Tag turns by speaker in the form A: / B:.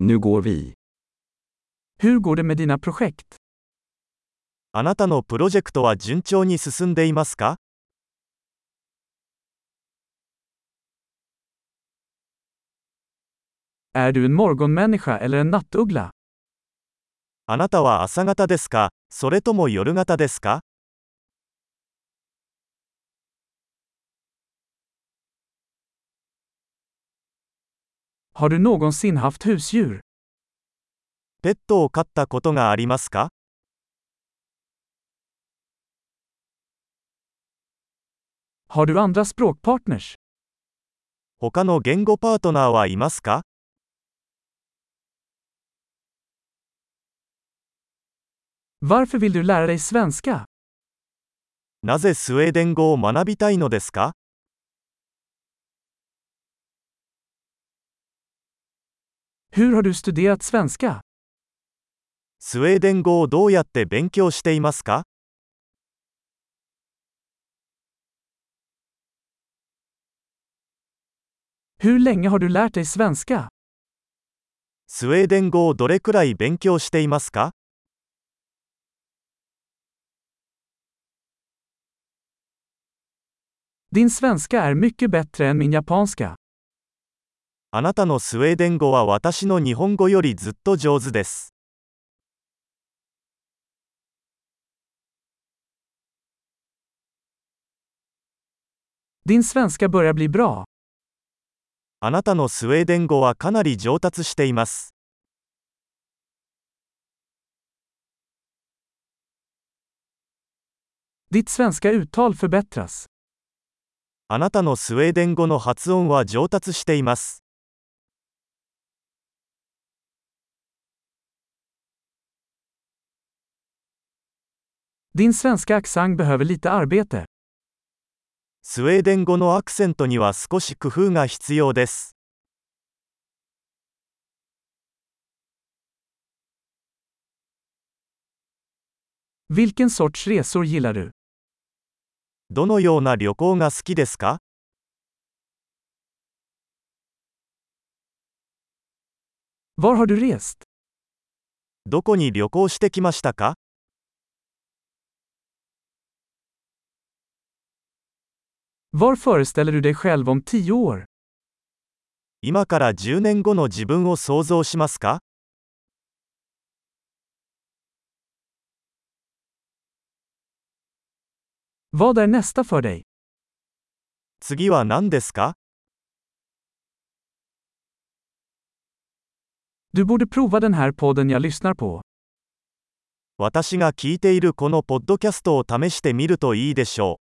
A: Nu går vi.
B: Hur går det med dina projekt?
C: あなたのプロジェクトは順調に進んでいますか
B: Är du en morgonmänniska eller en nattuggla?
C: あなたは朝方ですかそれとも夜型ですか
B: Har du någonsin haft husdjur?
C: ペットを飼ったことがありますか
B: Har du andra språkpartners?
C: 他の言語パートナーはいますか
B: Varför vill du lära dig svenska?
C: なぜスウェーデン語を学びたいのですか
B: Hur har du studerat svenska?
C: スウェーデン語をどうやって勉強していますか
B: Hur länge har du lärt dig svenska?
C: スウェーデン語をどれくらい勉強していますか
B: Din svenska är mycket bättre än min japanska.
C: あなたのスウェーデン語は私の日本語よりずっと上手です。
B: Din svenska börjar bli bra.
C: あなたのスウェーデン語はかなり上達しています。
B: Ditt svenska uttal förbättras.
C: あなたのスウェーデン語の発音は上達しています。
B: Din svenska accent behöver lite arbete.
C: スウェーデン語のアクセントには少し工夫が必要です。
B: Vilken sorts resor gillar du?
C: どのような旅行が好きですか
B: Var har du rest?
C: どこに旅行してきましたか
B: Var föreställer du dig själv om tio år?
C: 今から10年後の自分を想像しますか
B: Vad är nästa för dig?
C: 次は何ですか
B: Du borde prova den här podden jag lyssnar på.
C: 私が聞いているこのポッドキャストを試してみるといいでしょう。